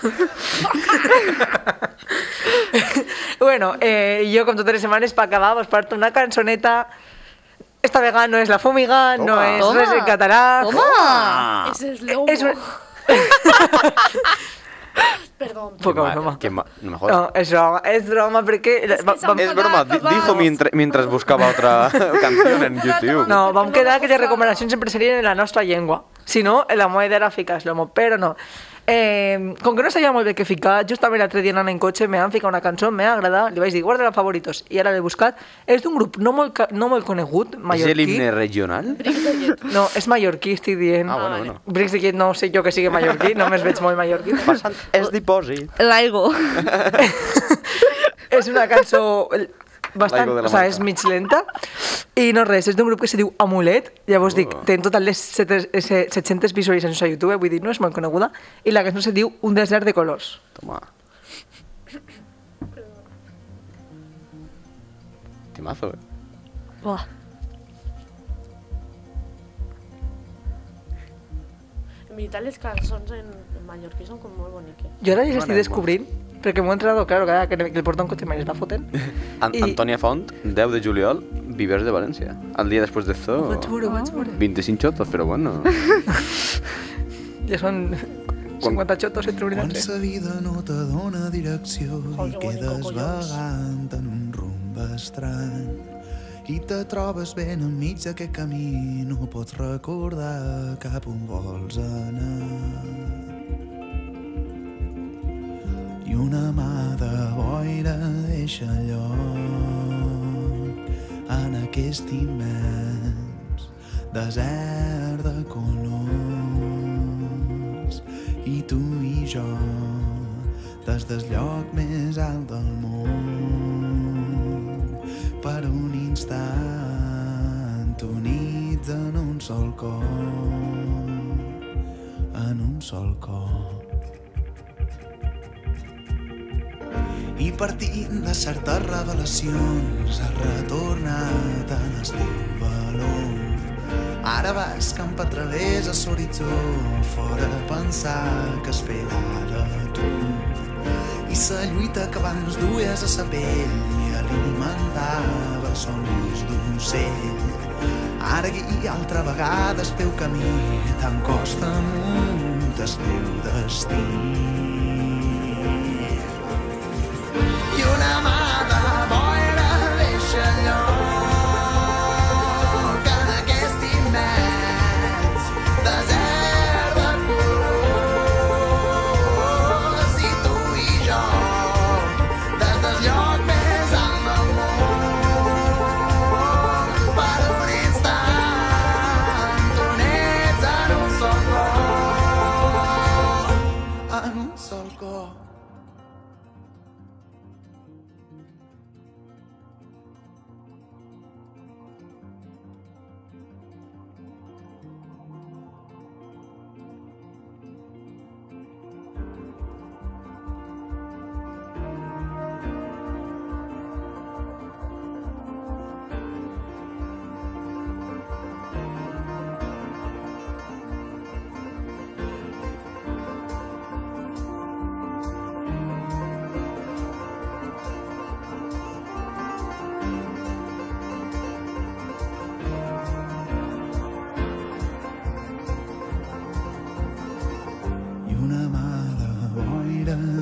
bueno, eh, jo com totes les setmanes per acabar vos porto una cançoneta esta vegada no és la fumiga, no Toma. és Toma. res en català. Home! Ah, És eslow. És un... Perdó. qué Poca mal, broma. Ah, qué mal. No me jodas. No, és broma, és broma perquè... va- s'ha vam- Es broma, di- dijo mientras, mientras buscaba otra canción en YouTube. No, vam Perquè no la quedar que les posava. recomanacions sempre serien en la nostra llengua. Si no, en la moneda era ficar-lo, però no. Eh, com que no sabia molt bé què ficar, justament l'altre dia anant en cotxe me han ficat una cançó, m'ha agradat, li vaig dir, guarda la favoritos, i ara l'he buscat. És d'un grup no molt, ca- no molt conegut, ¿Es el mallorquí. himne regional? No, és mallorquí, estic dient. Ah, bueno, bueno. Brix de Kid, no sé jo que sigui mallorquí, només veig molt mallorquí. Es dipòsit. L'aigo. és una cançó bastant, L'Aigo de la o sea, Marta. és mig lenta i no res, és d'un grup que se diu Amulet llavors dic, Uh. té en total les 700 eh, 700 visualitzacions a YouTube, vull dir, no és molt coneguda i la cançó se diu Un desert de colors Toma. Timazo, eh? Buah. En veritat, les cançons en, en mallorquí són com molt boniques. jo ara les estic M'agrada descobrint perquè m'ho he entrat, claro, cada que, que el porta un cotxe me les va fotent An I- Antònia Font, 10 de juliol, Vivers de València. El dia després de Zoo. vaig veure, vaig veure 25 xotos, però bueno. ja són 50 xotos entre un i Quan altre sa vida no te dona direcció Oh, i que bonico, quedes collons. vagant en un rumb estrany i te trobes ben enmig d'aquest camí no pots recordar cap on vols anar i una mà de boira deixa lloc en aquest immens desert de colors i tu i jo des del lloc més alt del món per un instant units en un sol cor en un sol cor i partint de certes revelacions has retornat en el teu valor. Ara vas camp a través a l'horitzó, fora de pensar que espera de tu. I la lluita que abans duies a sa pell i alimentava els somnis d'un ocell. Ara guia altra vegada el teu camí, tant costa amunt el teu destí i una mà de boira deixa lloc en aquest immens desert de colors i tu i jo des del lloc més alt del món per un instant units en un sol cor en un sol cor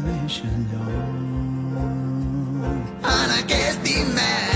deixa lloc. En aquest immens